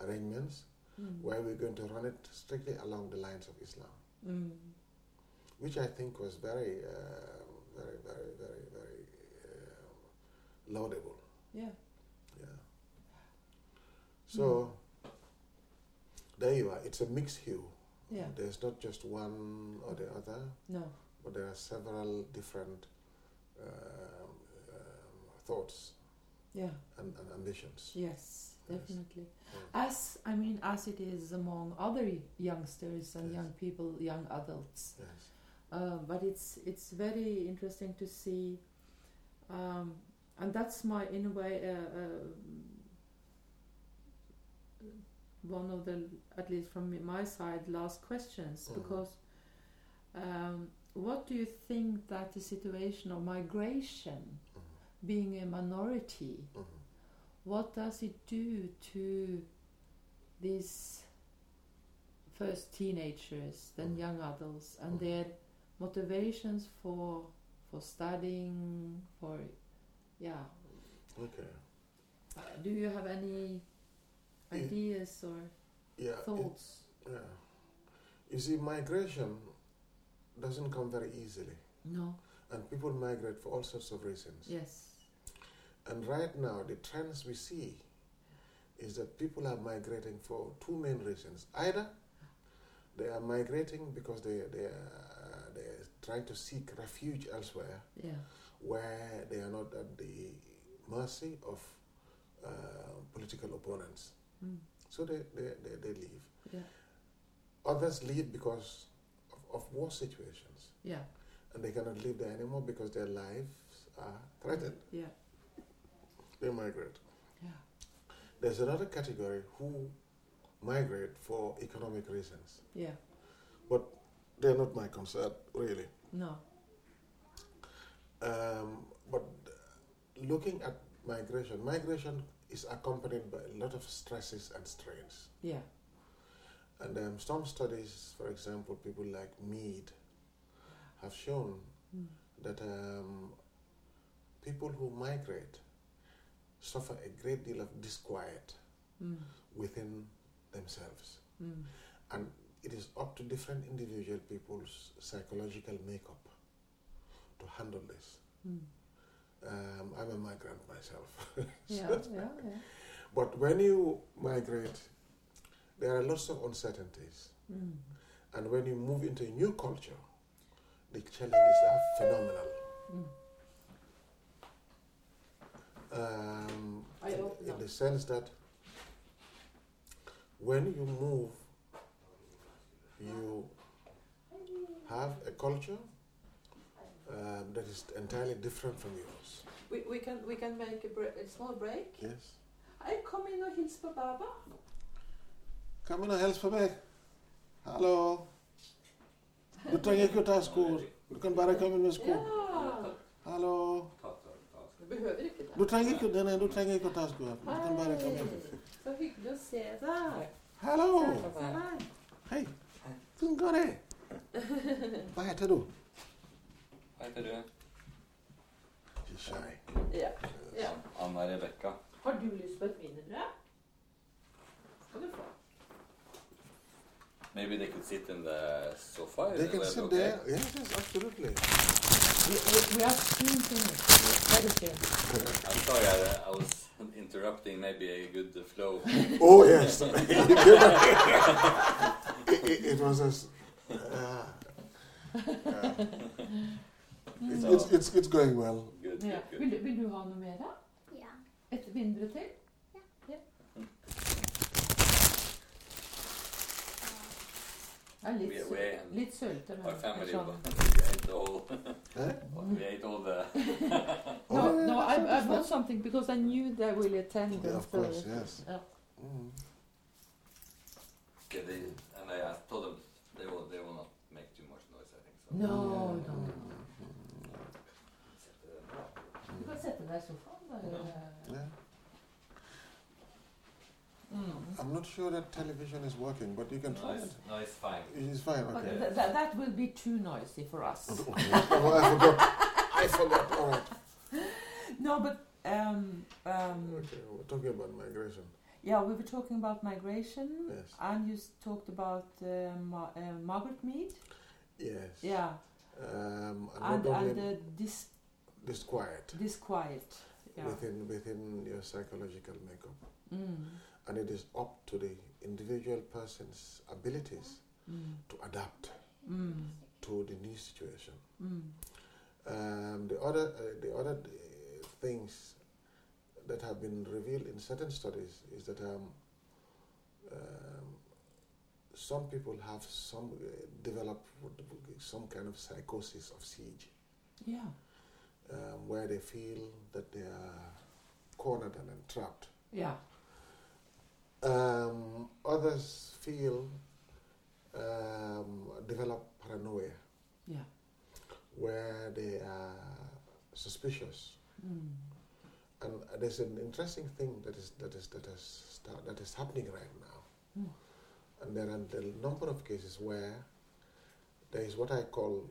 Speaker 2: arrangements
Speaker 1: Mm.
Speaker 2: where we're going to run it strictly along the lines of Islam,
Speaker 1: Mm.
Speaker 2: which I think was very, um very, very, very, very um laudable.
Speaker 1: Yeah.
Speaker 2: Yeah. So there you are. It's a mixed hue.
Speaker 1: Yeah.
Speaker 2: There's not just one or the other.
Speaker 1: No.
Speaker 2: but there are several different um, um, thoughts
Speaker 1: Yeah.
Speaker 2: and, and ambitions.
Speaker 1: Yes,
Speaker 2: Yes.
Speaker 1: definitely.
Speaker 2: Mm.
Speaker 1: As I mean, as it is among other youngsters and
Speaker 2: Yes.
Speaker 1: young people, young adults.
Speaker 2: Yes.
Speaker 1: Uh, but it's it's very interesting to see, um, and that's my in a way uh, uh, one of the at least from my side last questions
Speaker 2: Mhm.
Speaker 1: because um, what do you think that the situation of migration, being a minority,
Speaker 2: Mhm.
Speaker 1: what does it do to these first teenagers, then
Speaker 2: Mm.
Speaker 1: young adults, and
Speaker 2: Mm.
Speaker 1: their motivations for for studying? For yeah,
Speaker 2: Okay.
Speaker 1: Uh, do you have any
Speaker 2: Yeah. Uh,
Speaker 1: ideas or
Speaker 2: Yeah. it-
Speaker 1: thoughts?
Speaker 2: yeah. You see, migration doesn't come very easily,
Speaker 1: No.
Speaker 2: and people migrate for all sorts of reasons.
Speaker 1: Yes.
Speaker 2: And right now, the trends we see is that people are migrating for two main reasons. Either they are migrating because they, they, are, they are trying to seek refuge elsewhere,
Speaker 1: Yeah.
Speaker 2: where they are not at the mercy of uh, political opponents.
Speaker 1: Mm.
Speaker 2: So they, they, they, they leave.
Speaker 1: Yeah.
Speaker 2: Others leave because of, of war situations,
Speaker 1: Yeah.
Speaker 2: and they cannot live there anymore because their lives are threatened.
Speaker 1: Yeah.
Speaker 2: They migrate.
Speaker 1: Yeah.
Speaker 2: There's another category who migrate for economic reasons.
Speaker 1: Yeah.
Speaker 2: They're not my concern, really.
Speaker 1: No.
Speaker 2: Um, but looking at migration, migration is accompanied by a lot of stresses and strains.
Speaker 1: Yeah.
Speaker 2: And um, some studies, for example, people like Mead have shown
Speaker 1: Mm.
Speaker 2: that um, people who migrate suffer a great deal of disquiet
Speaker 1: Mm.
Speaker 2: within themselves.
Speaker 1: Mm.
Speaker 2: And it is up to different individual people's psychological makeup to handle this.
Speaker 1: Mm.
Speaker 2: (laughs) Um, I'm a migrant myself. (laughs)
Speaker 1: Yeah. Yeah. Yeah.
Speaker 2: But when you migrate, there are lots of uncertainties.
Speaker 1: Mm.
Speaker 2: And when you move into a new culture, the challenges are phenomenal.
Speaker 1: Mm.
Speaker 2: Um,
Speaker 1: I
Speaker 2: in,
Speaker 1: hope
Speaker 2: in
Speaker 1: not.
Speaker 2: the sense that when you move, you have a culture um, that is entirely different from yours.
Speaker 1: We, we can we can make a, bre- a small break.
Speaker 2: Yes.
Speaker 1: Jeg kom inn og hilste på Baba.
Speaker 2: Come on, help for me. Hello. Utrenge kutta skor. Du kan bara komma med skor.
Speaker 1: Ja.
Speaker 2: Hallå.
Speaker 3: Du behöver inte
Speaker 2: Du trenger ikke Nei, nei, du trenger ikke å ta sko av. Du kan bare komme.
Speaker 3: Så hyggelig å se deg.
Speaker 1: Där.
Speaker 2: Hallo!
Speaker 1: Så här.
Speaker 2: Hei. Hvordan går det? Hva heter du?
Speaker 4: Hei, heter du?
Speaker 2: She's shy.
Speaker 3: Ja. ja.
Speaker 4: Anna Rebekka.
Speaker 3: Har du lyst på et wienerbrød? Skal du få.
Speaker 4: Maybe they could sit in the sofa.
Speaker 2: They
Speaker 4: is
Speaker 2: can
Speaker 4: that
Speaker 2: sit
Speaker 4: okay?
Speaker 2: there. Yes, yes, absolutely.
Speaker 1: We, we, we have seen things. That is good.
Speaker 4: I'm sorry, I, I was (laughs) interrupting maybe a
Speaker 2: (laughs)
Speaker 4: good flow.
Speaker 2: Oh, yes. it, it- it was as. Uh, yeah. it's, it's, it's, it's going well.
Speaker 4: Good,
Speaker 1: Ja.
Speaker 4: good,
Speaker 1: Vill,
Speaker 4: good.
Speaker 1: du- vill du ha något mer?
Speaker 5: Ja.
Speaker 1: Ett mindre till? Ja. Ja,
Speaker 4: Vi
Speaker 1: lite,
Speaker 4: är-
Speaker 1: sö-
Speaker 4: vi är-
Speaker 1: lite sylter
Speaker 4: Our
Speaker 1: här,
Speaker 4: family,
Speaker 1: eftersom-
Speaker 4: we ate all,
Speaker 2: Eh?
Speaker 4: we ate all
Speaker 2: (laughs)
Speaker 4: the...
Speaker 2: Oh,
Speaker 1: No,
Speaker 2: yeah,
Speaker 1: no,
Speaker 2: that's
Speaker 1: I, I
Speaker 2: understand.
Speaker 1: bought something because I knew they will attend
Speaker 2: Yeah,
Speaker 1: on
Speaker 2: of course,
Speaker 1: Thursday.
Speaker 2: yes.
Speaker 1: Yeah.
Speaker 2: Mm.
Speaker 4: Yeah, they, and I asked, told them they will, they will not make too much noise, I think. So.
Speaker 1: No, no.
Speaker 4: Sit there.
Speaker 1: Du kan sätta dig i soffan. där.
Speaker 2: Mm.
Speaker 1: uh,
Speaker 2: Yeah.
Speaker 1: Mm.
Speaker 2: I'm not sure that television is working, but you can
Speaker 4: No,
Speaker 2: try
Speaker 4: it's,
Speaker 2: it.
Speaker 4: no, it's fine.
Speaker 2: It's fine,
Speaker 1: But
Speaker 2: okay.
Speaker 1: th- th- that will be too noisy for us.
Speaker 2: (laughs) oh, I forgot. I forgot. All right.
Speaker 1: No, but um, um,
Speaker 2: Okay, we're talking about migration.
Speaker 1: yeah, we were talking about migration,
Speaker 2: Yes.
Speaker 1: and you s- talked about uh, Ma- uh, Margaret Mead.
Speaker 2: Yes.
Speaker 1: Yeah,
Speaker 2: Um, and
Speaker 1: and
Speaker 2: not only
Speaker 1: and uh, dis-
Speaker 2: disquiet
Speaker 1: disquiet. Yeah.
Speaker 2: within within your psychological makeup,
Speaker 1: Mm.
Speaker 2: and it is up to the individual person's abilities
Speaker 1: Mm.
Speaker 2: to adapt
Speaker 1: Mm.
Speaker 2: to the new situation.
Speaker 1: Mm.
Speaker 2: Um, the other uh, the other uh, things that have been revealed in certain studies is that um, um, some people have some uh, develop some kind of psychosis of siege,
Speaker 1: Yeah.
Speaker 2: um, where they feel that they are cornered and entrapped.
Speaker 1: Yeah.
Speaker 2: Um, others feel um, develop paranoia,
Speaker 1: Yeah.
Speaker 2: where they are suspicious
Speaker 1: Mm.
Speaker 2: And there's an interesting thing that is that is that has start, that is happening right now,
Speaker 1: Mm.
Speaker 2: and there are a number of cases where there is what I call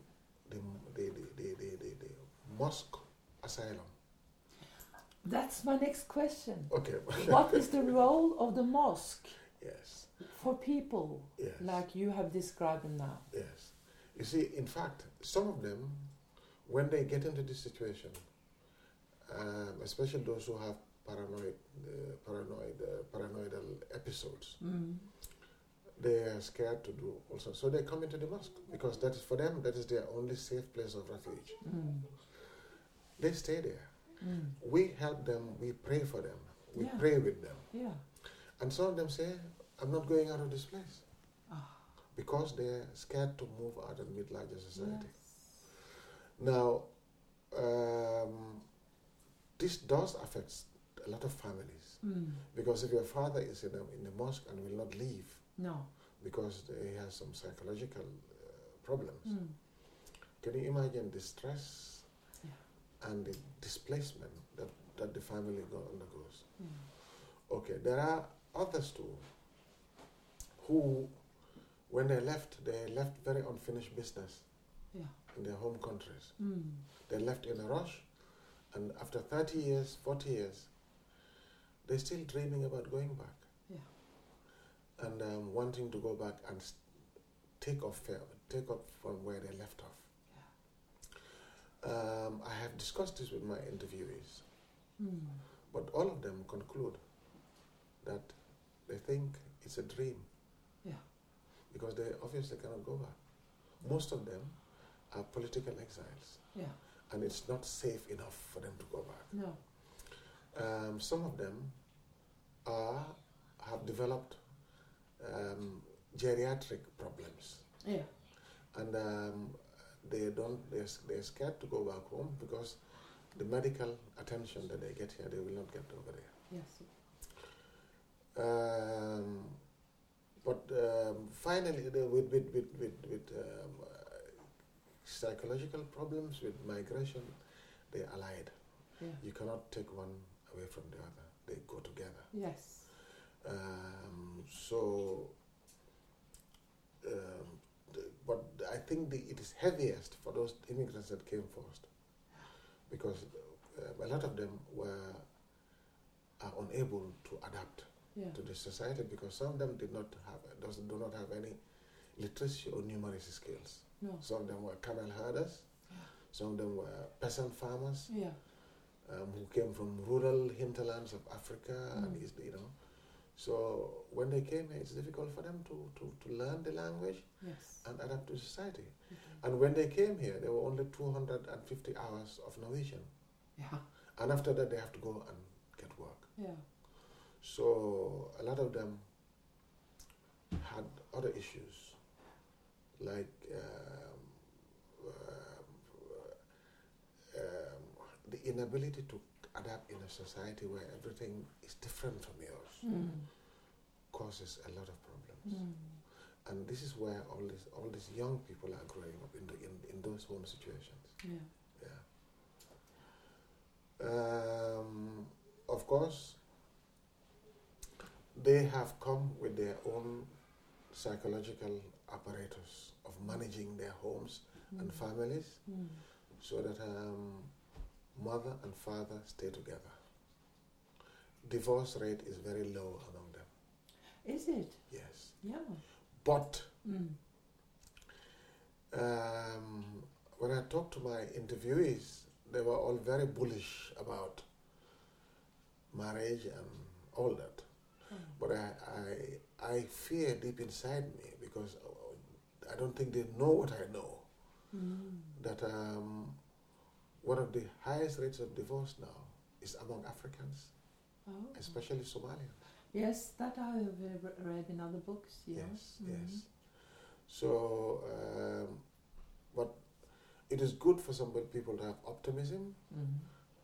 Speaker 2: the the the the, the, the, the mosque asylum.
Speaker 1: That's my next question.
Speaker 2: Okay. (laughs)
Speaker 1: what is the role of the mosque
Speaker 2: yes.
Speaker 1: for people
Speaker 2: Yes.
Speaker 1: like you have described them now?
Speaker 2: Yes. You see, in fact, some of them, when they get into this situation, um, especially those who have paranoid, uh, paranoid, uh, paranoidal episodes,
Speaker 1: Mm.
Speaker 2: they are scared to do also. So they come into the mosque because that is for them that is their only safe place of refuge.
Speaker 1: Mm.
Speaker 2: They stay there.
Speaker 1: Mm.
Speaker 2: We help them, we pray for them, we
Speaker 1: Yeah.
Speaker 2: pray with them.
Speaker 1: Yeah.
Speaker 2: And some of them say, I'm not going out of this place.
Speaker 1: Ah.
Speaker 2: Because they're scared to move out of mid larger society.
Speaker 1: Yes.
Speaker 2: Now, um, this does affect a lot of families
Speaker 1: Mm.
Speaker 2: because if your father is in, a, in the mosque and will not leave
Speaker 1: No.
Speaker 2: because he has some psychological uh, problems,
Speaker 1: Mm.
Speaker 2: Can you imagine the stress
Speaker 1: Yeah.
Speaker 2: and the displacement that, that the family go- undergoes?
Speaker 1: Mm.
Speaker 2: Okay, there are others too who, when they left, they left very unfinished business
Speaker 1: Yeah.
Speaker 2: in their home countries.
Speaker 1: Mm.
Speaker 2: They left in a rush, and after 30 years, 40 years, they're still dreaming about going back. Yeah. And um, wanting to go back and s- take off, fa- take off from where they left off. Um, I have discussed this with my interviewees,
Speaker 1: Mm.
Speaker 2: but all of them conclude that they think it's a dream.
Speaker 1: Yeah.
Speaker 2: Because they obviously cannot go back. Most of them are political exiles,
Speaker 1: Yeah.
Speaker 2: and it's not safe enough for them to go back.
Speaker 1: No.
Speaker 2: Um, some of them are, have developed um, geriatric problems,
Speaker 1: Yeah.
Speaker 2: and um, they don't. They're, they're scared to go back home because the medical attention that they get here, they will not get over there.
Speaker 1: Yes.
Speaker 2: Um, but um, finally, finally, the- with with with with, with um, uh, psychological problems, with migration, they are allied.
Speaker 1: Yeah.
Speaker 2: You cannot take one away from the other. They go together.
Speaker 1: Yes.
Speaker 2: Um, so, um, the- but I think the, it is heaviest for those immigrants that came first, because uh, a lot of them were are unable to adapt
Speaker 1: Yeah.
Speaker 2: to the society because some of them did not have does, do not have any literacy or numeracy skills.
Speaker 1: No.
Speaker 2: Some of them were camel herders,
Speaker 1: Yeah.
Speaker 2: some of them were peasant farmers
Speaker 1: Yeah.
Speaker 2: um, who came from rural hinterlands of Africa and
Speaker 1: Mm.
Speaker 2: East, you know. So when they came here, it's difficult for them to, to, to learn the language
Speaker 1: Yes.
Speaker 2: and adapt to society.
Speaker 1: Okay.
Speaker 2: And when they came here, there were only 250 hours of Norwegian.
Speaker 1: Yeah.
Speaker 2: And after that, they have to go and get work.
Speaker 1: Yeah.
Speaker 2: So a lot of them had other issues, like um, um, um, the inability to adapt in a society where everything is different from yours
Speaker 1: Mm.
Speaker 2: causes a lot of problems.
Speaker 1: Mm.
Speaker 2: And this is where all these all these young people are growing up in the, in, in those home situations.
Speaker 1: Yeah.
Speaker 2: Yeah. Um, of course, they have come with their own psychological apparatus of managing their homes and
Speaker 1: Mm.
Speaker 2: families
Speaker 1: Mm.
Speaker 2: so that um, mother and father stay together. Divorce rate is very low among them,
Speaker 1: Is it?
Speaker 2: yes.
Speaker 1: Yeah.
Speaker 2: But
Speaker 1: Mm.
Speaker 2: um, when I talked to my interviewees, they were all very bullish about marriage and all that.
Speaker 1: Oh.
Speaker 2: But I, I, I fear deep inside me because uh, I don't think they know what I know
Speaker 1: Mm.
Speaker 2: that um, one of the highest rates of divorce now is among Africans,
Speaker 1: Oh.
Speaker 2: especially Somalians.
Speaker 1: Yes, that I have uh, re- read in other books. Yeah.
Speaker 2: Yes,
Speaker 1: Mhm.
Speaker 2: yes. So, um, but it is good for some people to have optimism
Speaker 1: Mm.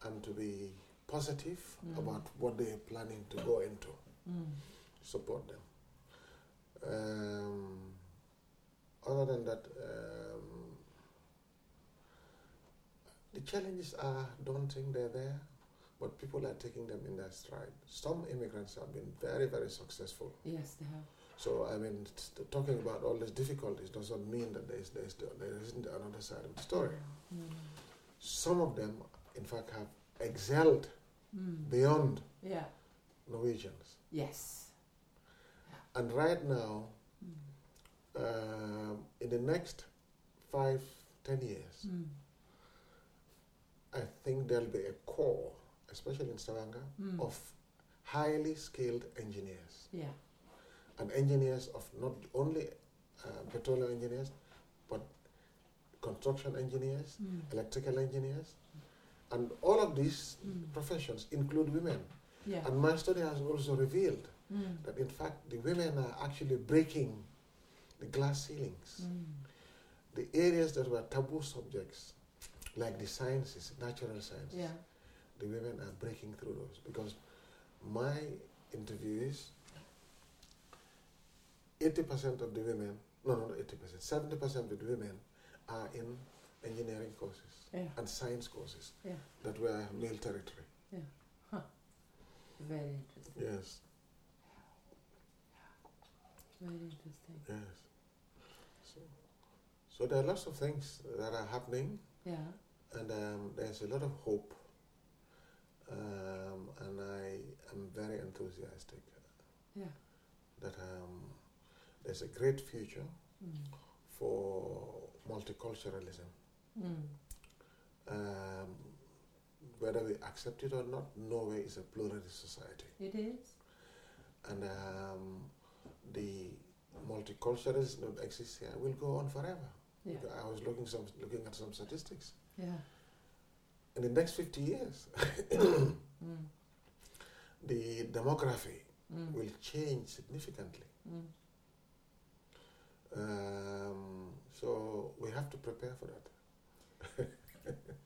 Speaker 2: and to be positive
Speaker 1: Mm.
Speaker 2: about what they are planning to go into.
Speaker 1: Mm.
Speaker 2: Support them. Um, other than that, um, the challenges are daunting, they're there, but people are taking them in their stride. Some immigrants have been very, very successful.
Speaker 1: Yes, they have.
Speaker 2: So, I mean, t- talking about all these difficulties doesn't mean that there, is, there, is, there isn't another side of the story.
Speaker 1: Mm.
Speaker 2: Some of them, in fact, have excelled
Speaker 1: Mm.
Speaker 2: beyond
Speaker 1: Yeah.
Speaker 2: Norwegians.
Speaker 1: Yes.
Speaker 2: And right now,
Speaker 1: Mm.
Speaker 2: um, in the next five, ten years,
Speaker 1: Mm.
Speaker 2: I think there'll be a core, especially in Stavanger,
Speaker 1: Mm.
Speaker 2: of highly skilled engineers
Speaker 1: Yeah.
Speaker 2: and engineers of not only uh, petroleum engineers, but construction engineers,
Speaker 1: Mm.
Speaker 2: electrical engineers, and all of these
Speaker 1: Mm.
Speaker 2: professions include women.
Speaker 1: Yeah.
Speaker 2: And my study has also revealed
Speaker 1: Mm.
Speaker 2: that in fact the women are actually breaking the glass ceilings.
Speaker 1: Mm.
Speaker 2: The areas that were taboo subjects, like the sciences, natural sciences,
Speaker 1: Yeah.
Speaker 2: the women are breaking through those. Because my interviewees, 80% of the women, no, no, not 80%, 70% of the women are in engineering courses
Speaker 1: Yeah.
Speaker 2: and science courses
Speaker 1: Yeah.
Speaker 2: that were male territory.
Speaker 1: Very interesting.
Speaker 2: Yes,
Speaker 1: Very interesting.
Speaker 2: yes. So, so there are lots of things that are happening.
Speaker 1: Yeah.
Speaker 2: and um, there's a lot of hope. Um, and I am very enthusiastic
Speaker 1: Yeah.
Speaker 2: that um, there's a great future
Speaker 1: Mm.
Speaker 2: for multiculturalism.
Speaker 1: Mm.
Speaker 2: Um, whether we accept it or not, Norway is a pluralist society.
Speaker 1: It is.
Speaker 2: And um, the multiculturalism that exists here will go on forever.
Speaker 1: Yeah.
Speaker 2: I was looking, some, looking at some statistics.
Speaker 1: Yeah.
Speaker 2: In the next 50 years, (laughs)
Speaker 1: Mm.
Speaker 2: the demography
Speaker 1: Mm.
Speaker 2: will change significantly.
Speaker 1: Mm.
Speaker 2: Um, so we have to prepare for that.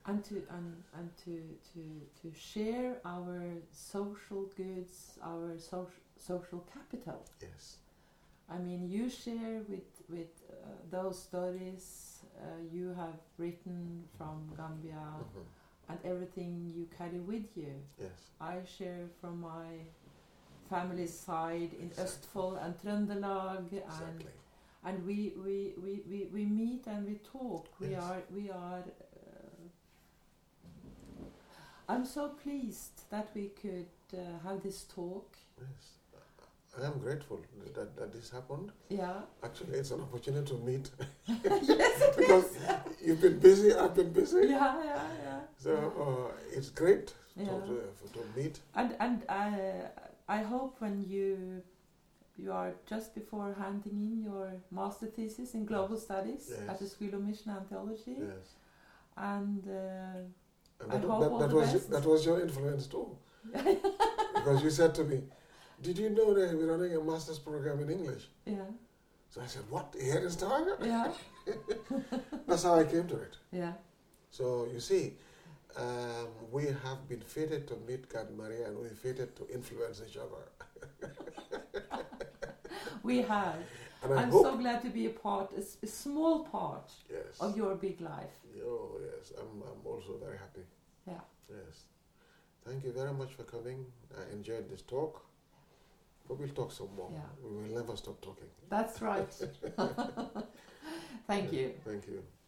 Speaker 1: and to and, and to, to to share our social goods, our social social capital,
Speaker 2: Yes,
Speaker 1: I mean, you share with with uh, those stories uh, you have written from Gambia
Speaker 2: Mhm.
Speaker 1: and everything you carry with you.
Speaker 2: Yes.
Speaker 1: I share from my family side in
Speaker 2: Exactly.
Speaker 1: Østfold and Trøndelag, and
Speaker 2: Exactly.
Speaker 1: and we we, we, we we meet and we talk. We
Speaker 2: Yes.
Speaker 1: are we are. Uh, I'm so pleased that we could uh, have this talk.
Speaker 2: Yes. I am grateful that, that this happened.
Speaker 1: Yeah.
Speaker 2: Actually, it's an opportunity to meet
Speaker 1: (laughs)
Speaker 2: (laughs)
Speaker 1: yes, it
Speaker 2: because
Speaker 1: is.
Speaker 2: you've been busy, I've been busy.
Speaker 1: (laughs) Yeah, yeah, yeah.
Speaker 2: So uh, it's great to,
Speaker 1: Yeah.
Speaker 2: to, to meet.
Speaker 1: And and I I hope when you you are just before handing in your master thesis in global studies at the
Speaker 2: Yes.
Speaker 1: School of Mission and Theology,
Speaker 2: Yes.
Speaker 1: and uh,
Speaker 2: And
Speaker 1: I
Speaker 2: that,
Speaker 1: hope
Speaker 2: that,
Speaker 1: all
Speaker 2: that
Speaker 1: the
Speaker 2: was
Speaker 1: best.
Speaker 2: that was your influence
Speaker 1: (laughs)
Speaker 2: too, because you said to me, "Did you know that we're running a master's program in English?"
Speaker 1: yeah,
Speaker 2: So I said, "What here in Stavanger?"
Speaker 1: yeah,
Speaker 2: That's how I came to it.
Speaker 1: yeah, (laughs)
Speaker 2: So you see, um, we have been fated to meet God Maria, and we're fated to influence each other.
Speaker 1: we have.
Speaker 2: And I
Speaker 1: I'm
Speaker 2: hope,
Speaker 1: so glad to be a part, a, s- a small part
Speaker 2: yes,
Speaker 1: of your big life.
Speaker 2: oh yes, I'm I'm also very happy.
Speaker 1: Yeah.
Speaker 2: Yes, thank you very much for coming. I enjoyed this talk, but we'll talk some more.
Speaker 1: Yeah.
Speaker 2: We will never stop talking.
Speaker 1: That's right. (laughs) Thank you.
Speaker 2: Thank you.